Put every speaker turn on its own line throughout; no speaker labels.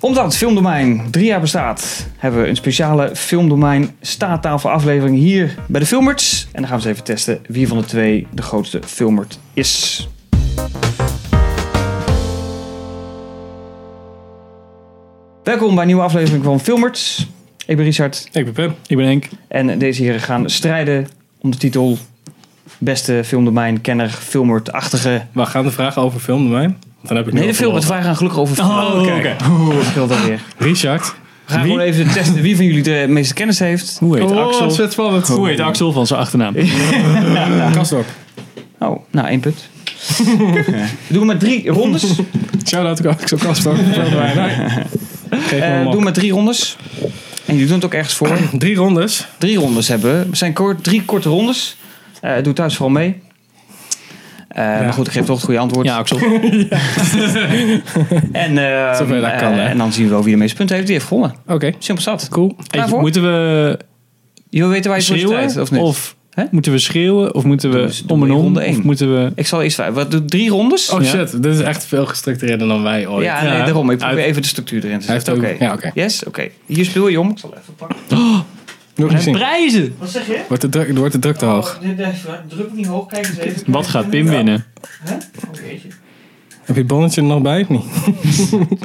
Omdat het filmdomein drie jaar bestaat, hebben we een speciale filmdomein staattafelaflevering hier bij de Filmerts. En dan gaan we eens even testen wie van de twee de grootste filmert is. Welkom bij een nieuwe aflevering van Filmerts. Ik ben Richard
Ik ben Pim. Ik ben Henk.
en deze heren gaan strijden om de titel Beste filmdomein, kenner, filmert-achtige
We gaan de vraag over filmdomein. Dan heb ik nu
Nee, de
al
film. Het
verloren.
wij gaan gelukkig over film.
Oh, oké.
Wat scheelt dat weer?
Richard.
We gaan gewoon even testen wie van jullie de meeste kennis heeft.
Hoe heet
Oh,
Axel?
het werd spannend.
Hoe heet Axel van zijn achternaam?
Kastok.
Oh, nou, één punt. We doen maar drie rondes.
Shout-out ook Axel Kastok. Filmdomein. Nee. Geef
Eh,
me hem
doen
op.
we maar drie rondes. En jullie doen het ook ergens voor.
Drie rondes.
Drie rondes hebben we. Het zijn kort, drie korte rondes. Eh, doe thuis vooral mee. Eh, Maar goed, ik geef toch het goede antwoord.
Ja, Axel.
En, eh,
Zover dat kan,
eh,
hè.
en dan zien we wel wie de meeste punten heeft. Die heeft gewonnen.
Oké.
Simpel zat.
Cool. Hey,
Daarvoor?
moeten we
Je weten waar je voor strijdt,
schreeuwen?
of niet? Hè?
moeten we schreeuwen? Of moeten
Doe
we
eens- doe
om en
maar
om?
ronde
Of
één.
moeten we...
Ik zal eerst... Wat, doe drie rondes?
Oh
Ja.
shit, dit is echt veel gestructureerder dan wij ooit.
ja, nee,
Ja,
daarom. Ik probeer
hij-
even de structuur erin te
Hij heeft
zetten.
ook...
Oké.
Ja, oké.
Yes, oké. Hier speel je om. Ik zal even pakken.
Nog
En
eens zien.
prijzen!
Wat zeg je? Oh,
Wordt de druk, wordt de druk te hoog.
Druk niet hoog, kijk eens even.
Wat gaat Pim winnen?
Heb je het bonnetje er nog bij of niet?
Oh, kijk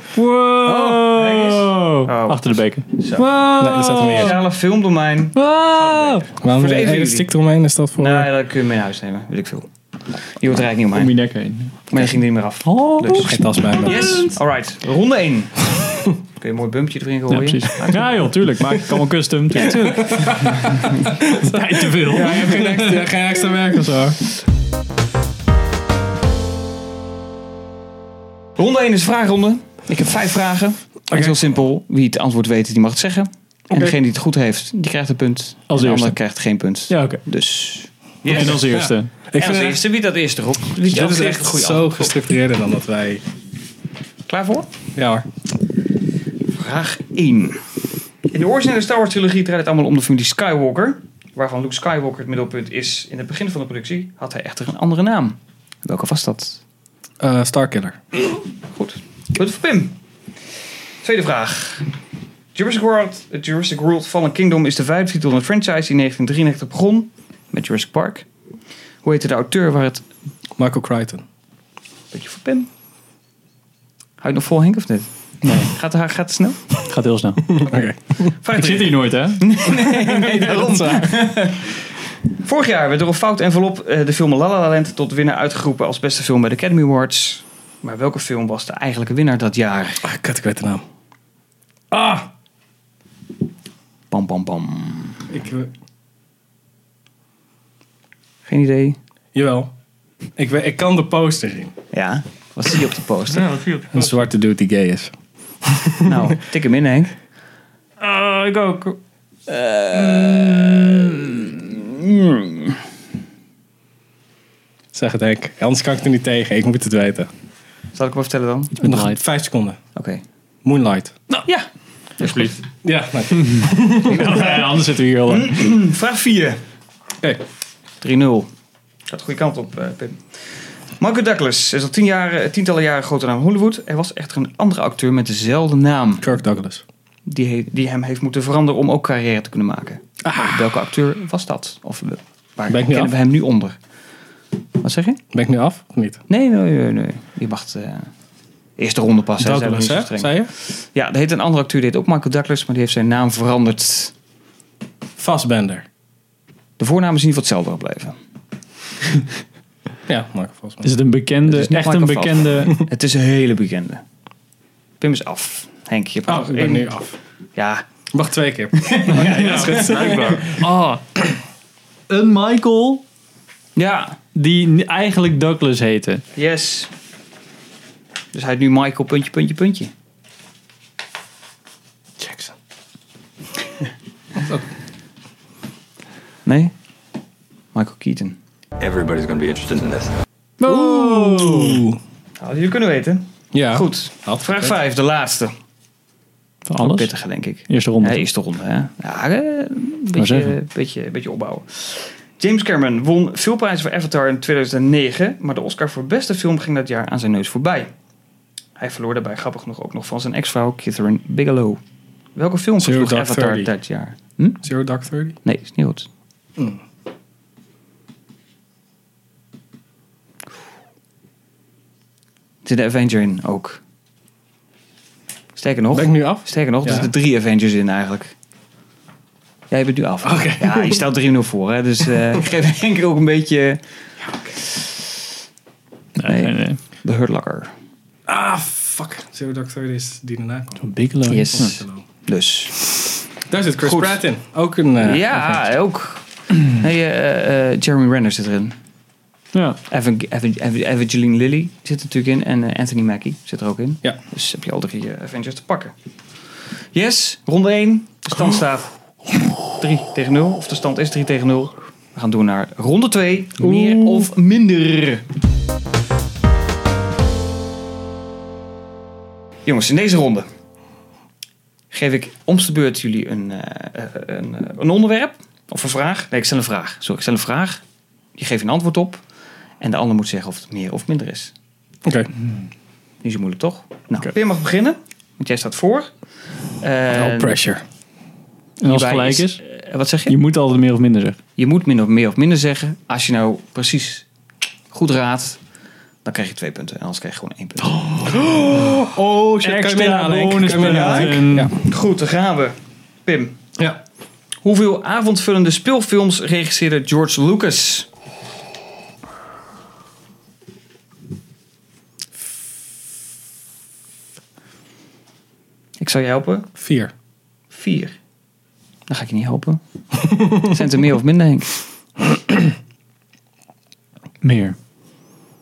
Wow!
Oh.
Achter de beker.
Nee, er staat er meer.
Speciale filmdomein.
Wow!
Waarom
Voor
de
de
hele
evenwicht.
stick eromheen is dat voor...
Nou, dat kun je mee naar huis nemen. Weet ik veel. Je hoort er eigenlijk niet
Om
omheen.
je nek heen.
Maar je ging er niet meer af.
Oh!
Dus.
Geen tas bij me.
Yes. Alright. Ronde 1. Kun je een mooi bumpje erin
Ja,
gooien.
precies. Ja joh, tuurlijk. Maak ik allemaal custom. Ja, tuurlijk. Tijd te veel.
Ja, je hebt geen extra, geen extra werk of zo.
Ronde 1 is de vraagronde. Ik heb vijf vragen. Het is heel simpel. Wie het antwoord weet, die mag het zeggen. En
Oké.
degene die het goed heeft, die krijgt een punt. en de
eerste.
ander krijgt geen punt.
Ja, oké.
Dus...
En als eerste.
Ik
en
vind
als
het echt-
eerste, wie dat eerste roept. Wie
Dit
dat
is
eerste
echt
goede
zo
antwoord.
gestructureerder dan dat wij...
Klaar voor?
Ja hoor.
Vraag 1. In de originele Star Wars trilogie draait het allemaal om de familie Skywalker. Waarvan Luke Skywalker het middelpunt is. In het begin van de productie had hij echter een andere naam. Welke was dat?
Eh, Starkiller.
Goed. Punt voor Pim. Tweede vraag. Jurassic World, eh, Jurassic World Fallen Kingdom is de vijfde titel van de franchise die in 1993 begon. Met Jurassic Park. Hoe heette de auteur waar het...
Michael Crichton.
Puntje voor Pim. Hou je nog vol Henk of niet? Nee. Gaat het, gaat het snel?
Het gaat heel snel.
Oké.
Vraag
Ik zit
drie.
hier nooit hè?
Nee, daarom. Vorig jaar werd door een fout envelop eh, de film La La Land tot winnaar uitgeroepen als beste film bij de Academy Awards. Maar welke film was de eigenlijke winnaar dat jaar?
Ah, kut, ik weet de naam.
Bam, bam, bam.
Ik, eh,
Geen idee.
jawel. Ik, weet- ik kan de poster zien.
Ja, wat zie je op de poster?
Een zwarte dude die gay is.
nou, tik hem in, Henk.
Eh, ik ook.
Zeg het Henk. Anders kan ik er niet tegen. Ik moet het weten.
Zal ik hem vertellen dan? Oké.
Nog vijf seconden. Moonlight.
Nou,
Ja.
Alsjeblieft.
Ja. nou,
Ja, anders zitten we hier al.
Hm?
lang.
Vraag 4. 3-0.
Oké.
Gaat de goede kant op, eh, Pim. Michael Douglas is al tien jaren, tientallen jaren groter dan Hollywood. Er was echter een andere acteur met dezelfde naam.
Kirk Douglas.
die, he- die hem heeft moeten veranderen om ook carrière te kunnen maken. Welke acteur was dat? Of eh, waar
Ben ik nu
kennen we
af?
hem nu onder? Wat zeg je?
Ben ik nu af of niet?
Nee, nee, nee. nee. Je mag eh eerste ronde passen. hè. Zijn we niet
Douglas,
zo
hè?
streng.
Zei je?
Ja, er heet een andere acteur, die heet ook Michael Douglas, maar die heeft zijn naam veranderd.
Fassbender.
De voornaam is in ieder geval hetzelfde gebleven.
Ja, Michael Fassbender.
Is het een bekende,
Het is niet
echt een
Michael Phelps.
bekende...
Het is een hele bekende. Pim is af. Henk, je hebt
Oh,
nog
ik ben
één.
nu af.
Ja,
Wacht twee keer. ja, dat is goed.
Ah. Een Michael
ja,
die ni- eigenlijk Douglas heette.
yes. Dus hij heet nu Michael, puntje, puntje, puntje.
Jackson.
Nee? Michael Keaton.
Everybody's gonna be interested in this.
Oeh.
Nou, jullie kunnen weten.
Ja.
Goed.
Had
Vraag
gekund.
5, de laatste.
Van alles.
Pittige, denk ik.
Eerste
Ja,
ronde.
eerste ronde, hè? Ja, eh, een beetje,
zeggen.
beetje, beetje opbouwen. James Cameron won veel prijzen voor Avatar in 2009, maar de Oscar voor beste film ging dat jaar aan zijn neus voorbij. Hij verloor daarbij grappig genoeg ook nog van zijn ex-vrouw Catherine Bigelow. Welke film
Zero
versloeg
Dark
Avatar
Thirty.
dat jaar?
Hm?
Zero Dark Thirty.
Nee, is niet goed. Hmm. Er zit de Avenger in ook. Sterker nog,
Ben ik nu af?
sterker nog er
Ja.
zitten drie Avengers in eigenlijk. Jij bent nu af.
Oké.
Ja, je staat 3-0 voor, hè? dus eh, ik geef denk ik ook een beetje
Nee, nee,
Nee.
nee.
de hurtlakker.
Ah, fuck. Zero Dark Thirty is die daarna kwam.
Bigelow.
Yes. Dus.
Daar zit Chris
Goed.
Pratt in. Ook een... eh,
ja, ook. Nee, eh, eh, Jeremy Renner zit erin. Hm.
Ja.
Evan- Evan- Evan- Evangeline Lilly zit er natuurlijk in. En eh, Anthony Mackie zit er ook in.
Ja.
Dus heb je al drie eh, Avengers te pakken. Yes, ronde 1. De stand staat 3 tegen 0. Of de stand is 3 tegen 0. We gaan door naar ronde 2. Meer of minder. Jongens, in deze ronde geef ik omst de beurt jullie een, eh, eh, een, eh, een onderwerp. Of een vraag. Nee, ik stel een vraag. Sorry, ik stel een vraag. Je geeft een antwoord op. En de ander moet zeggen of het meer of minder is.
Oké.
Niet zo moeilijk, toch? Nou, Pim mag beginnen. Want jij staat voor. Eh,
No pressure.
En als
hierbij
het gelijk is,
eh, wat zeg je?
je moet altijd meer of minder zeggen.
Je moet min of meer of minder zeggen. Als je nou precies goed raadt, dan krijg je twee punten. En anders krijg je gewoon één punt.
Oh shit, kan je hem
Extra
inhalen, Henk? Kan je hem inhalen, Henk?
bonuspunten. Ja.
Goed, dan gaan we. Pim,
Ja.
hoeveel avondvullende speelfilms regisseerde George Lucas? Ik zal je helpen.
Vier.
Vier. Dan ga ik je niet helpen. Zijn het er meer of minder, Henk?
Meer.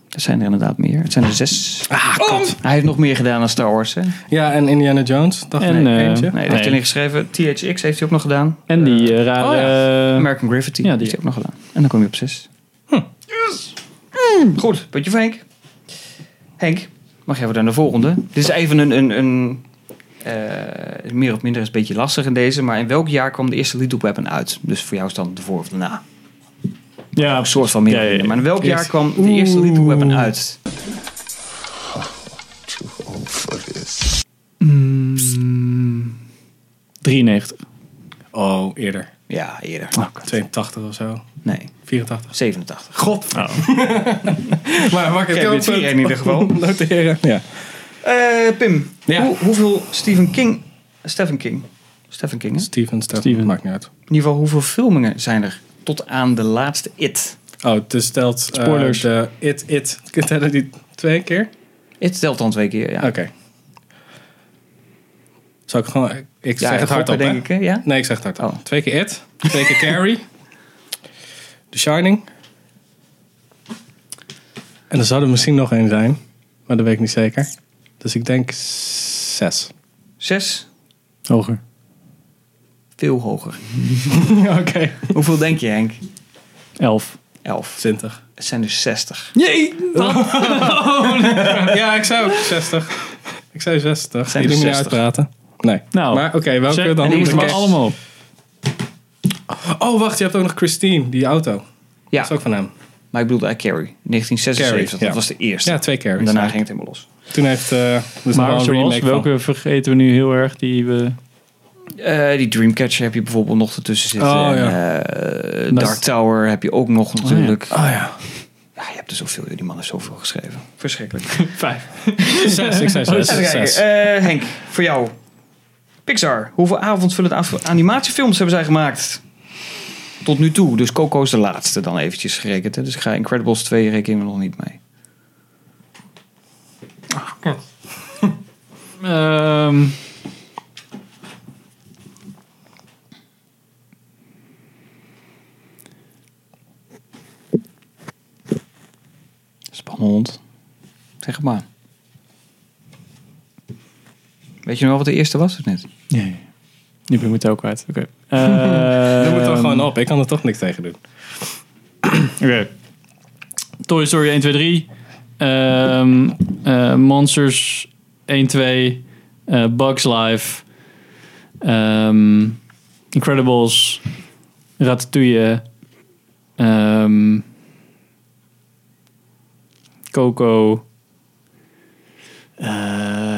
Er zijn er inderdaad meer. Het zijn er zes.
Ah, kut.
Hij heeft nog meer gedaan dan Star Wars, hè?
Ja, en Indiana Jones. Dacht
En,
ik
eh,
eentje.
Nee, dat heeft
Nee.
hij niet geschreven. THX heeft hij ook nog gedaan.
En die eh, rare...
oh
eh,
American Graffiti
ja, die-
heeft hij ook nog gedaan. En dan kom je op zes. Yes! Goed, puntje voor Henk. Henk, mag jij weer naar de volgende? Dit is even een... een, een eh, meer of minder is een beetje lastig in deze. Maar in welk jaar kwam de eerste Little Weapon uit? Dus voor jou is dan de voor of de na.
ja,
Een soort van meer. of
Ja, ja, ja.
minder. Maar in welk
Yes.
jaar kwam de eerste Little Weapon uit?
Mm, 93.
Oh, eerder.
Ja, eerder.
Oh,
82 of zo.
Nee,
84.
87.
God.
Oh.
Maar wakker,
Oké, dit vier in ieder geval.
Noteren. Ja.
Eh, Pim,
Ja.
hoe- hoeveel Stephen King... Stephen King. Stephen King, hè?
Steven, Steven.
Steven.
Maakt niet uit.
In ieder geval, hoeveel filmingen zijn er tot aan de laatste It?
Oh, dus stelt...
Spoilers.
de it, it. Tellen die twee keer?
It telt dan twee keer, ja.
Oké. Zal ik gewoon... Ik ik
ja,
zeg het hardop,
gokken,
hè?
denk ik, hè? Ja?
Nee, ik zeg het hardop.
Oh.
Twee keer it. Twee keer carry. The Shining. En er zou er misschien nog één zijn. Maar dat weet ik niet zeker. Dus ik denk zes.
Zes?
Hoger.
Veel hoger.
Oké.
hoeveel denk je, Henk?
11.
Elf.
20.
Het zijn dus zestig.
Jee!
Ja, ik zei ook 60. Ik zei 60.
Zijn
Zijn Jullie
er
me niet
60?
uitpraten. Nee.
Nou.
maar oké, welke
Zeg,
dan?
en die
Moet
is
ik
maar
echt-
allemaal op.
Oh, wacht, je hebt ook nog Christine, die auto.
Ja,
Dat is ook van hem.
maar ik bedoelde I Carrie. 1976,
Carrie,
dat
ja.
was de eerste.
Ja, twee
en
carries.
daarna ging het helemaal los.
Toen heeft... eh dus
Maar
nog wel een
zoals,
remake
welke vergeten we nu heel erg die we...
Eh, die Dreamcatcher heb je bijvoorbeeld nog ertussen zitten.
Oh,
En, eh, Dark Tower heb je ook nog natuurlijk.
van. Oh ja.
ja. je hebt er zoveel. joh. Die man heeft zoveel geschreven. Verschrikkelijk.
Vijf.
Zes, ik zei zes.
Even kijken.
zes.
Eh, Henk, voor jou. Pixar. Hoeveel avondvullend af- animatiefilms hebben zij gemaakt? Tot nu toe. Dus Coco is de laatste dan eventjes gerekend. Hè? Dus ik ga Incredibles 2 rekenen we nog niet mee.
Ehm,
Spannend. Zeg het maar. Weet je nog wel wat de eerste was of niet?
nee. Nu ben ik het ook kwijt. Oké. Ehm,
Doe het dan gewoon op. Ik kan er toch niks tegen doen.
Oké. Toy Story 1, 2, 3. Ehm, eh, Monsters 1, 2. eh, Bugs Life. ehm, Incredibles. Ratatouille. ehm, Coco. eh,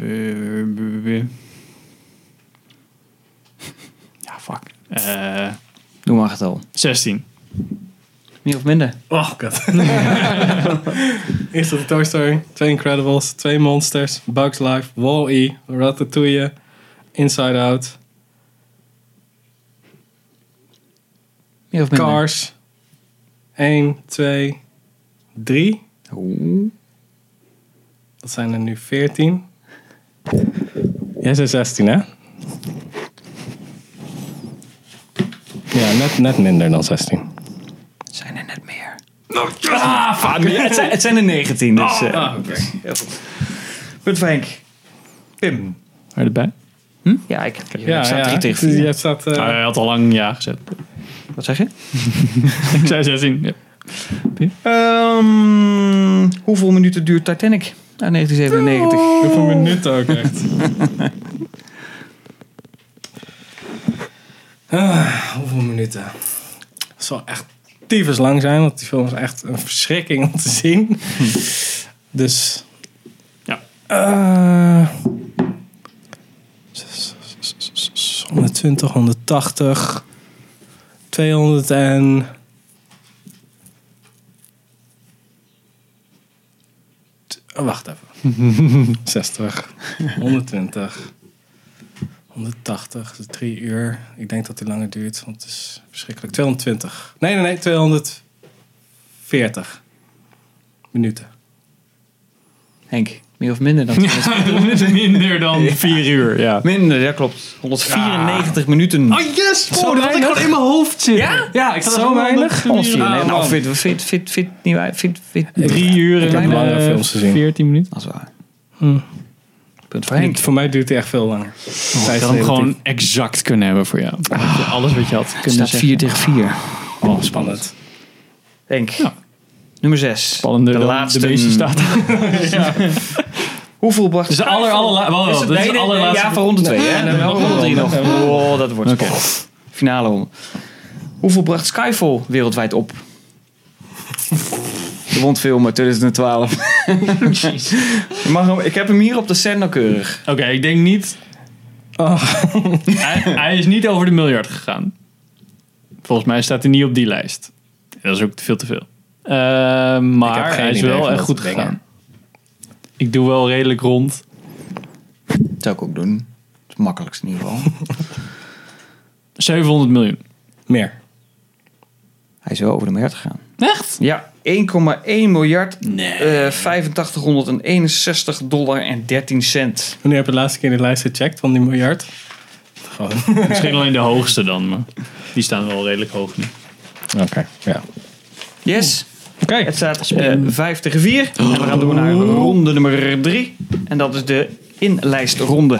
eh, ja, fuck. Eh,
Noem maar een getal.
16.
Meer of minder?
Oh god. Eerst de Toy Story, twee Incredibles, twee Monsters, Bugs Life, Wall-E, Ratatouille, Inside Out,
Meer of minder?
Cars. 1, 2, 3.
Oeh.
Dat zijn er nu 14. Jij zei 16, hè? Ja, net, net minder dan 16.
Zijn er net meer? Ah, fuck. het, zijn, het zijn er 19, dus... eh, heel goed. Goed, Frank. Pim.
Waar erbij?
Ja, ik heb
Ja,
staat
ja.
drie tegen vier.
Je staat... eh,
Ah, hij had al lang ja gezet.
Wat zeg je?
Ik zei 16. Ja.
Ehm, hoeveel minuten duurt Titanic? Ah, 1997.
Hoeveel minuten ook echt. Ah, hoeveel minuten? Het zal echt tyfus lang zijn, want die film is echt een verschrikking om te zien. Dus...
Ja.
eh, 120, 180, 200 en... 100 oh, Wacht even. 60. 120. 180. Dat is dus drie uur. Ik denk dat die langer duurt, want het is verschrikkelijk. 220. Nee, nee, nee. 240 minuten.
Henk, meer of minder dan?
Minder dan 4 uur, ja.
Minder, ja klopt. 194 minuten.
yes!
Oh,
dat had ik gewoon
in mijn hoofd zitten. Ja?
ja, ik
Zo weinig?
194.
Ah,
nou,
man.
fit, fit, fit, fit, niet waar. Fit, fit.
3 uur
heb
en
langere
eh,
films gezien.
14 minuten.
Dat is waar.
Hm.
Punt voor Henk.
Voor mij duurt hij echt veel langer.
Ik had hem gewoon exact kunnen hebben voor jou. Dan had je Alles wat je had kunnen
Het staat 4
zeggen.
tegen 4.
Oh, spannend.
Henk.
Ja.
Nummer 6.
Spannende
de
dan
laatste.
De meeste staat.
Hoeveel bracht...
Dus de aller, allerla- wacht,
Is het-
dit is
nee,
de
nee, nee,
allerlaatste-
Ja, van ronde 2.
Nee,
hè? Dan
nee, nee,
wel
nog
ronde 3 nog.
een ronde.
Oh, dat wordt
Oké.
spannend. Finale ronde. Hoeveel bracht Skyfall wereldwijd op? De wondfilmen 2012. Je mag hem- ik heb hem hier op de scène nauwkeurig.
Oké, ik denk niet... Oh. hij, hij is niet over de miljard gegaan. Volgens mij staat hij niet op die lijst. Dat is ook veel te veel. Eh,
heb
maar
geen
hij is
idee van
wel echt
dat
goed
soort dingen.
gegaan. Ik doe wel redelijk rond.
Dat zou ik ook doen. Dat is het makkelijkste in ieder geval.
700 miljoen.
Meer.
Hij is wel over de miljard gegaan.
Echt?
Ja, 1,1 miljard eh, 8561 dollar en 13 cent.
Wanneer heb je de laatste keer die lijst gecheckt van die miljard? Gewoon.
Misschien alleen de hoogste dan, maar die staan wel redelijk hoog nu.
Oké, ja.
Yes.
Oké. Oh.
Het staat eh 5 tegen 4. En we gaan door naar ronde nummer 3. En dat is de inlijstronde.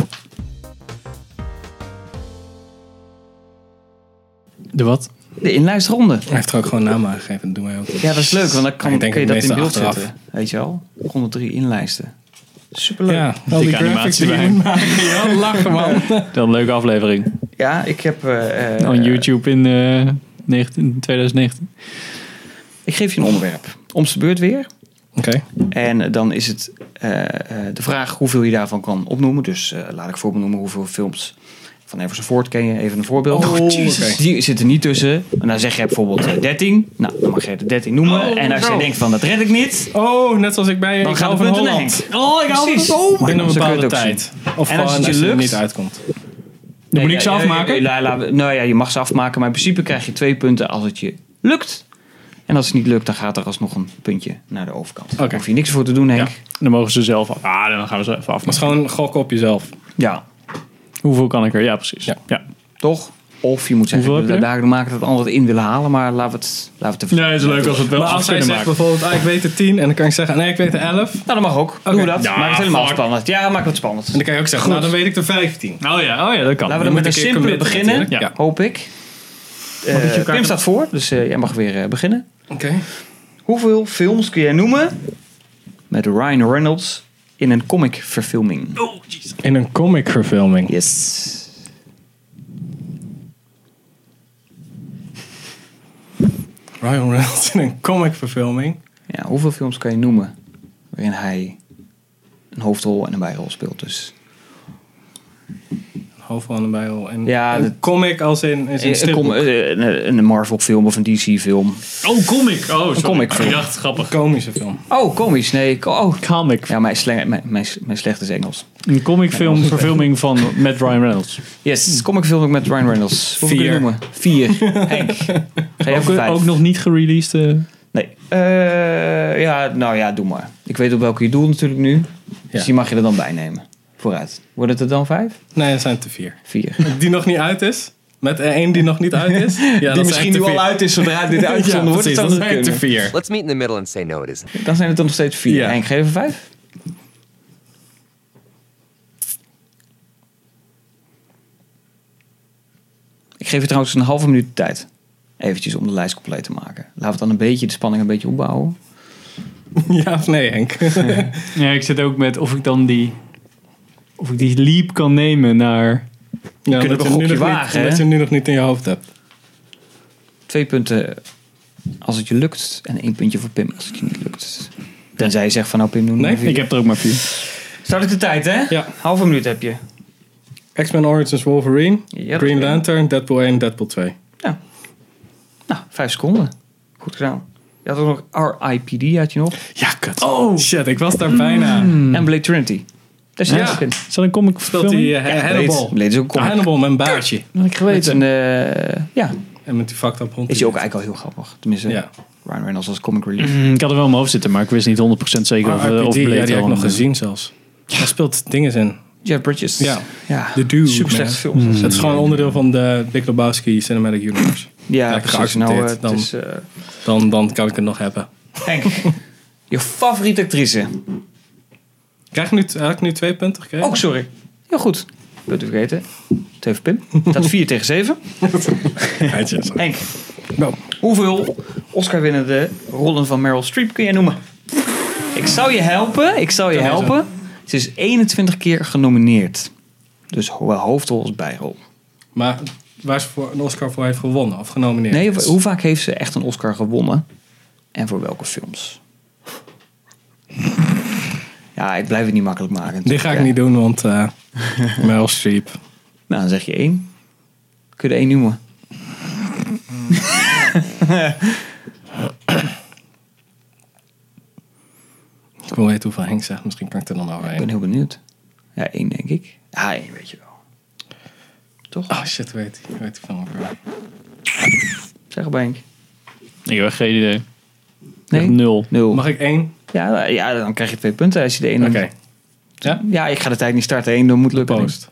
De wat?
De inlijstronde.
Hij heeft er ook gewoon namen aan gegeven. Dat doen wij ook.
Ja, dat is leuk, want dan kan,
Ik denk
kun je dat
het
in
meeste
beeld
achteraf.
zetten. Weet je wel? Ronde 3 inlijsten. Superleuk. Ja,
Ja, al die
Dikke
graphics
animatie
die
bij.
we maken. Ja, lachen man.
Dat een leuke aflevering.
ik heb... eh, eh,
Nou,
On YouTube in eh, 19, 2019.
Ik geef je een onderwerp. Om de beurt weer.
Oké.
En dan is het eh, eh, de vraag hoeveel je daarvan kan opnoemen. Dus eh, laat ik voorbeeld noemen hoeveel films van Everson Ford ken je. Even een voorbeeld.
Oh, Jesus.
Oké. Die zitten niet tussen. En dan zeg je bijvoorbeeld eh, 13. Nou, dan mag je de 13 noemen.
Oh,
en als je
zo.
denkt van dat red ik niet.
Oh, net zoals ik bij
Dan
ik
gaat
hou
het
van
punt in
Holland.
Henk. Oh, ik hou
Precies.
van Holland. Maar
Binnen een
zo kun je het
bepaalde
ook zien.
tijd. Of
En als het je
gewoon als je er
lukt-
niet uitkomt.
Dan moet
Nee,
ik ze
ja,
afmaken.
ja, ja, la- la- nou ja, je mag ze afmaken. Maar in principe krijg je twee punten als het je lukt. En als het niet lukt, dan gaat er alsnog een puntje naar de overkant. Daar
Oké.
hoef je niks voor te doen, Henk.
Ja. Dan mogen ze zelf af. Ah, dan gaan we ze even af.
Maar het is gewoon gokken op jezelf.
ja.
Hoeveel kan ik er? Ja, precies. Ja.
Ja.
Toch? Of je moet zeggen,
Hoeveel
Hoeveel
heb je?
daar maken dat we het altijd in willen halen, maar laten we het, laten we het
Nee, het is leuk als we het wel
Maar
af
als hij
kunnen
zegt
maken.
bijvoorbeeld, ah, ik weet er 10. En dan kan ik zeggen, nee, ik weet er 11. En
Nou, dat mag ook. Doen we dat.
Ja,
maak het helemaal
fuck.
spannend. Ja, maak het spannend.
dan kan je ook zeggen, nou, dan weet ik er 15.
Oh ja, oh ja, dat
Laten we dan
je
kan.
moet
met
een
een
keer
simpele
committen
beginnen,
natuurlijk. Ja.
hoop ik. Eh,
elkaar-
Pim staat voor, dus eh, jij mag weer eh, beginnen.
Oké.
Hoeveel films kun jij noemen met Ryan Reynolds in een comic-verfilming?
In een comic verfilming.
Yes.
Ryan Reynolds in een comic verfilming.
Ja, hoeveel films kan je noemen waarin hij een hoofdrol en een bijrol speelt? Dus
overal aan de bijl. En
Ja,
een
dat-
comic als in, is een
Eh,
strip.
kom- eh, Een, een Marvel-film of een DC-film.
Oh, comic. Oh, sorry.
comicfilm.
Ik dacht, grappig.
komische film.
Oh, komisch. Nee. ko- Oh.
Comic.
Ja, mijn, sleng, mijn, mijn, mijn slecht is Engels.
Een comicfilm verfilming van met Ryan Reynolds.
Yes, comicfilm met Ryan Reynolds. Hoeveel kun je
Vier.
noemen? Vier. Henk. Ga jij
Ook,
voor vijf?
ook nog niet gereleased. eh,
Nee. Eh, ja, nou ja, doe maar. Ik weet op welke je doel natuurlijk nu. Dus
Ja.
die mag je er dan bij nemen. Vooruit. Wordt het er dan vijf?
Nee, dat zijn te vier.
Vier.
Die nog niet uit is. Met er één die nog niet uit is. Ja, dat zijn te vier.
uit is zodra dit
Ja, precies, dat
zou
zijn te vier.
Let's meet in the middle and say no, it isn't.
Dan zijn het er nog steeds vier.
Ja.
Henk, geef even vijf. Ik geef je trouwens een halve minuut de tijd. Eventjes om de lijst compleet te maken. Laten we dan een beetje de spanning een beetje opbouwen.
Ja of nee, Henk?
Ja, ik zit ook met of ik dan die. Of ik die leap kan nemen naar.
Ja,
kunt
omdat
het een
je nu
gokje
nog
wagen,
niet,
hè?
Dat je hem nu nog niet in je hoofd hebt.
Twee punten als het je lukt. En één puntje voor Pim als het je niet lukt. Tenzij je zegt van nou Pim, doe
Nee,
nee,
Ik heb er ook maar vier.
Start ik de tijd hè?
Ja.
Halve minuut heb je.
X-Men Origins Wolverine,
Ja, dat
Green
is-
Lantern, Deadpool 1, Deadpool 2.
Nou, vijf seconden. Goed gedaan. Je had ook nog RIPD had je nog.
Ja, kut. Oh! Shit, ik was daar bijna.
En Blade Trinity. Daar zit
Ja.
je ook in.
Is dat een comic
Speelt hij eh,
film?
Ja,
Hannibal.
Blade- Blade is ook een comic.
Hannibal, mijn baasje.
Had ik
Met
geweten.
een, eh, ja,
En met die fucked up hond.
is hij ook eigenlijk al heel grappig. Tenminste,
Ja.
Ryan Reynolds als comic relief.
eh?
Mm, Ik had er wel in mijn hoofd zitten, maar ik wist niet 100% zeker of, eh,
RIPD,
of Blade
ja, die heb ik
al
nog
een-
gezien zelfs. Daar speelt dingen in.
Jeff Bridges.
Ja.
ja.
The Dude,
Super
man. Mm.
slechte films.
Het is gewoon onderdeel van de Big Lebowski Cinematic Universe.
Ja,
Ja,
precies. Nou, eh,
geaccepteerd
het
dan.
is, eh,
Dan, dan kan ik het nog hebben.
Henk, je favoriete actrice.
Krijg ik nu, had ik nu twee punten gekregen?
Oh, sorry. Heel goed. Punten vergeten. Het heeft Pim. Dat is 4 tegen 7.
Geintje, sorry.
Henk,
Nou,
hoeveel Oscar-winnende rollen van Meryl Streep kun jij noemen? Ik zou je helpen. Ik zou je
Kan hij zo.
helpen. Ze is 21 keer genomineerd. Dus wel hoofdrol als bijrol.
Maar waar ze voor een Oscar voor heeft gewonnen of genomineerd?
Nee,
is.
hoe vaak heeft ze echt een Oscar gewonnen? En voor welke films? Ja, ik blijf het niet makkelijk maken.
Dit ga ik
Ja.
niet doen, want eh Meryl Streep.
Nou, dan zeg je één. Kun je er één noemen?
Ik wil weten hoeveel Henk zegt, misschien kan ik er dan
Ik ben
overheen.
heel benieuwd. Ja, één denk ik. Ja, één weet je wel. Toch?
Oh shit, hoe heet die? Hoe heet die film ook weer?
Zeg maar Henk.
Ik heb echt geen idee.
Nee?
Echt nul.
Nul.
Mag ik één?
Ja, eh, ja, dan krijg je twee punten als je de één
Mm. Oké.
noemt.
Ja?
Ja, ik ga de tijd niet starten. Eén door moet lukken.
Post.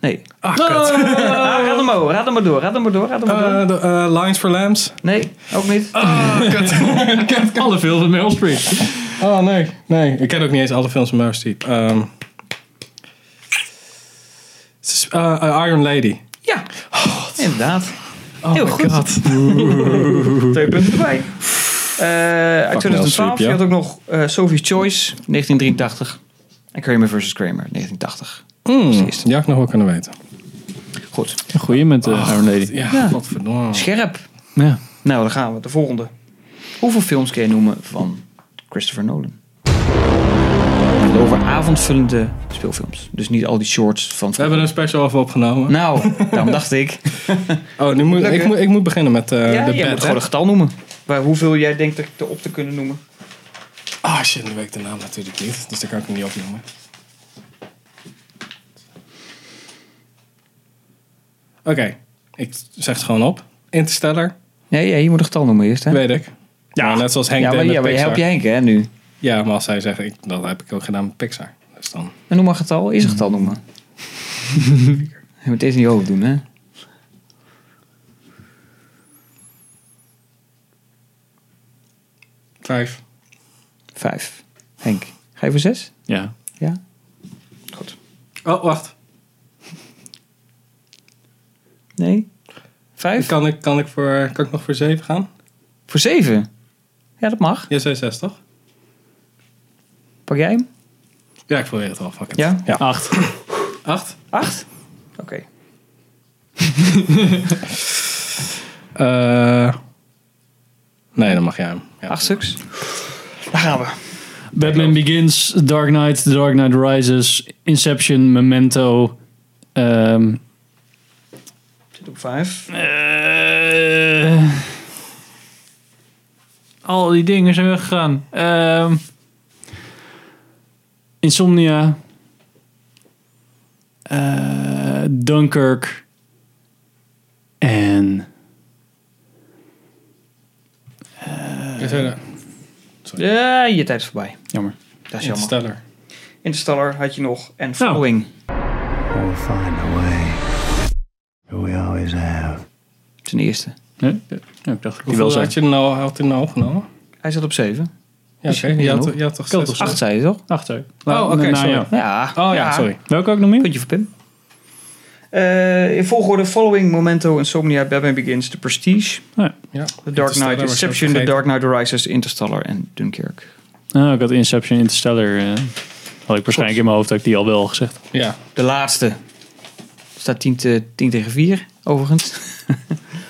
Nee.
Ah, kut.
Ah, raad hem over. Raad hem maar door. Raad hem maar door. Raad hem maar door.
Eh, Ah. de, eh, Lines for Lambs.
Nee, ook niet.
Alle films met Meryl Streep.
Oh nee, nee. Ik ken ook niet eens alle films van Meryl Streep. Ehm, het is, eh, eh, Iron Lady.
Ja, inderdaad.
Oh
Heel
my
goed.
god.
Twee punten erbij. Eh, uit
Meryl
2012.
Streep, ja.
Je had ook nog eh, Sophie's Choice, 1983. En Kramer versus Kramer, 1980.
Mm,
Precies.
die had ik nog wel kunnen weten.
Goed.
Een goeie met de Iron Lady.
Oh, Ja,
Ja.
wat verdomme.
Scherp.
Ja.
Nou, dan gaan we. De volgende. Hoeveel films kun je noemen van Christopher Nolan? We hebben het Over avondvullende speelfilms. Dus niet al die shorts van...
We hebben een special over opgenomen.
Nou, daarom dacht ik.
Oh, nu moet,
Lekker.
ik, moet, ik moet beginnen met eh,
ja,
de
je moet
bed. hè?
gewoon een getal noemen. Waar, hoeveel jij denkt dat ik erop te kunnen noemen.
Ah shit, nu weet ik de naam natuurlijk niet. Dus daar kan ik hem niet opnoemen. Oké, ik zeg het gewoon op. Interstellar,
Nee, ja, je moet een getal noemen eerst. Hè?
weet ik. Ja, net zoals Henk
ja, maar,
deed met
ja, maar je
Pixar.
helpt je Henk hè, nu. Nou,
Ja, maar als hij zegt, ik, dat heb ik ook gedaan met Pixar. Dus dan...
En noem maar een getal. Eerst een getal noemen. je moet het eerst in je hoofd doen, hè?
Vijf.
Vijf. Henk, ga je voor zes?
Ja.
Ja? Goed.
Oh, wacht.
Nee? Vijf?
Kan ik, kan, ik voor, kan ik nog voor zeven gaan?
Voor zeven? Ja, dat mag.
Ja, zei zes, toch?
Pak jij hem?
Ja, ik probeer het al. Fuck it.
Ja?
Acht.
Acht.
Acht? Oké.
Eh, nee, dan mag jij hem. Ja.
Acht stuks. Daar gaan we.
Batman Begins, Dark Knight, The Dark Knight Rises, Inception, Memento, ehm,
Zit op 5.
Eh, al die dingen zijn weggegaan. Ehm, Insomnia. Eh, Dunkirk. En
Ja, verder.
Ja, Eh, je tijd is voorbij.
jammer.
Dat is jammer.
Interstellar.
Interstellar had je nog. En Following.
We'll find a way. We always have.
Ten eerste.
Nee? Ja, ik dacht ik die wel
Hoeveel
zei.
had je nou, had hij nou genomen?
Hij zat op 7.
Ja, oké.
niet
Je, had,
genoeg.
je had toch
Kan
zes?
toch
8 zei je toch?
Acht, sorry.
Oh, oké, sorry.
Ja.
Oh ja, sorry.
nou, Welke ook nog meer?
Puntje voor Pim. Eh, in volgorde Following, Memento, Insomnia, Batman Begins, The Prestige,
Ja.
The Dark Knight,
Interstellar was je ook
Inception, The
vergeten.
Dark Knight Rises, Interstellar en Dunkirk.
Ah, ik had Inception Interstellar. eh, had ik waarschijnlijk in mijn hoofd dat ik die al wel had gezegd.
Ja.
De laatste. Staat 10, te, 10 tegen 4, overigens.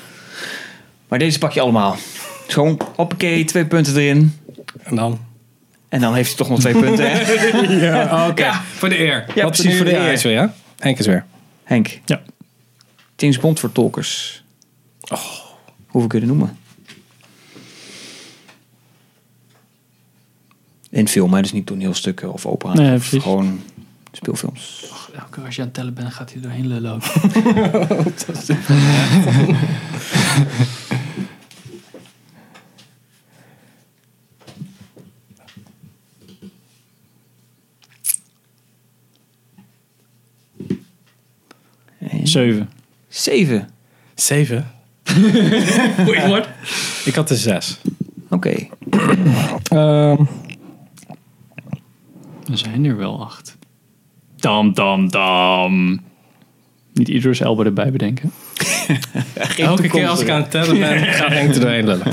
maar deze pak je allemaal. Gewoon, hoppakee, twee punten erin.
En dan?
En dan heeft hij toch nog twee punten, hè?
Ja, oké. Voor de eer.
Ja,
Wat precies voor de
eer.
eer is weer, ja? Henk is weer.
Henk.
Ja.
James Bond voor tolkers.
Oh.
Hoe we kunnen noemen. In film, hè, dus niet toneelstukken of opera.
Nee,
of
precies.
gewoon speelfilms.
Elke keer als je aan het tellen bent, gaat hij doorheen lullen ook. Zeven.
Zeven.
Zeven. Ik had er zes.
Oké.
Ehm,
Er zijn er wel acht. Dam, dam, dam. Niet Idris Elba erbij bedenken.
elke keer als ik aan het tellen ben, gaat Henk er doorheen lullen.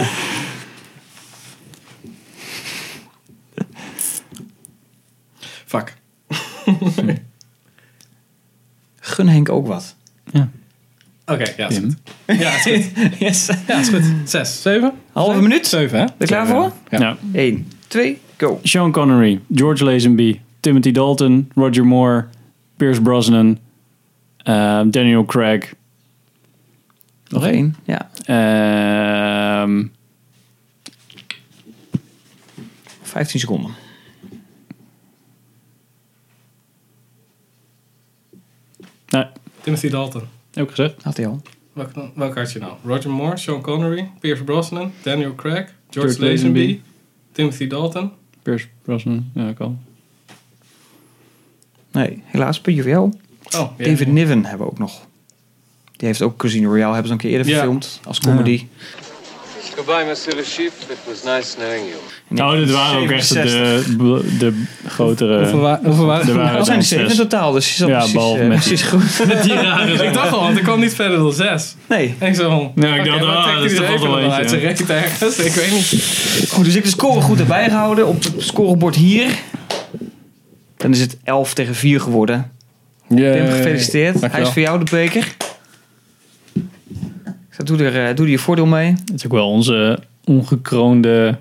Fuck.
Gun Henk ook wat.
Oké, ja. is
Tim.
goed. Ja, is goed.
Yes.
Ja, is goed. Zes. Zeven?
Halve minuut. Ben
Zeven, hè?
je klaar voor?
Ja.
Ja.
Eén, twee, go.
Sean Connery, George Lazenby, Timothy Dalton, Roger Moore, Pierce Brosnan, eh, Daniel Craig.
Nog één. Ja.
Ehm,
Vijftien seconden.
nou,
Timothy Dalton.
ook gezegd.
Had hij al.
Welke, dan- welke had je nou? Roger Moore, Sean Connery, Pierce Brosnan, Daniel Craig, George,
George
Lazenby,
Lazenby.
Timothy Dalton.
Pierce Brosnan, ja, ik al.
Nee, helaas. Puntje voor jou.
Oh, ja.
David Niven hebben we ook nog. Die heeft ook Casino Royale, hebben ze een keer eerder
Ja.
verfilmd. Als comedy.
Goodbye, Monsieur le Chief. It was nice knowing you.
Nou, dit waren ook echt eh, de, de grotere...
Hoeveel wa- hoeveel waren
er
er?
waren
Dat zijn er
er
zeven in
zes.
totaal, dus je zat
Ja,
precies,
behalve
eh,
met
precies goed.
Ik dacht al, want ik kwam niet verder dan zes.
Nee.
En ik zei van...
Nee, ik
oké,
dacht,
waar
ah,
trekt
dat
hij
is
die
toch
zeven
wel
dan
eentje.
uit? Zijn rekken ergens? Ik weet niet.
Goed, dus ik heb de score goed erbij gehouden op het scorebord hier. Dan is het 11 tegen 4 geworden. Tim, gefeliciteerd. Hij is voor jou de beker. Ik zeg, Doe er, eh, doe er je voordeel mee.
Het is ook wel onzeongekroonde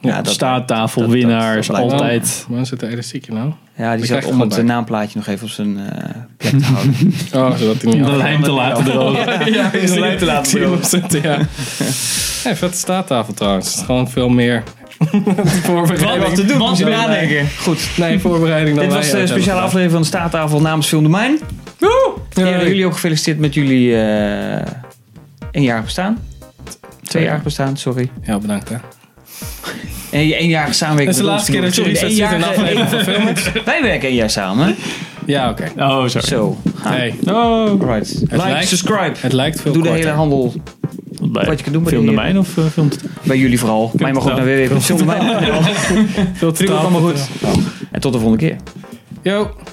Ja, dat-
staattafelwinnaar.
dat-
Is
dat lijkt me
altijd...
Man zit er elastiekje nou.
Ja, die
Ik
zat
krijg
om het eh,
gewoon bij.
naamplaatje nog even op zijn eh, plek te houden.
Oh, zodat hij niet...
De lijn te laten drogen.
Ja, is
de lijn te laten drogen.
zitten, ja. Hey, vette staattafel trouwens. Het is gewoon veel meer voorbereiding.
Wat te doen,
Wat
moet je
dan wij-
nadenken. Goed.
Nee, voorbereiding dan
Dit
wij
was de
ooit
speciale
hebben
aflevering van de Staattafel namens Film Domein.
gedaan.
Heren, jullie ook gefeliciteerd met jullie eh één jaar bestaan. Twee jaar bestaan, sorry.
Ja, bedankt hè.
En je eenjarige
Dat
samenwerking
is de
met
laatste
ons.
keer dat
Sorry,
jullie
de
zitten in een
eenjarige-
aflevering van Filmers.
Wij werken één jaar samen.
Ja, oké.
Oh, sorry.
Zo. Ha.
Hey,
Oh.
Alright. Like,
lijkt-
subscribe.
het lijkt veel
Doe de
korter.
hele handel
Bij
Wat je kan doen bij
Film
die-
Domein of eh, Film
bij jullie vooral. Mij mag ook naar www.filmdomein.nl.
Veel
Komt allemaal goed. En tot de volgende keer.
Yo.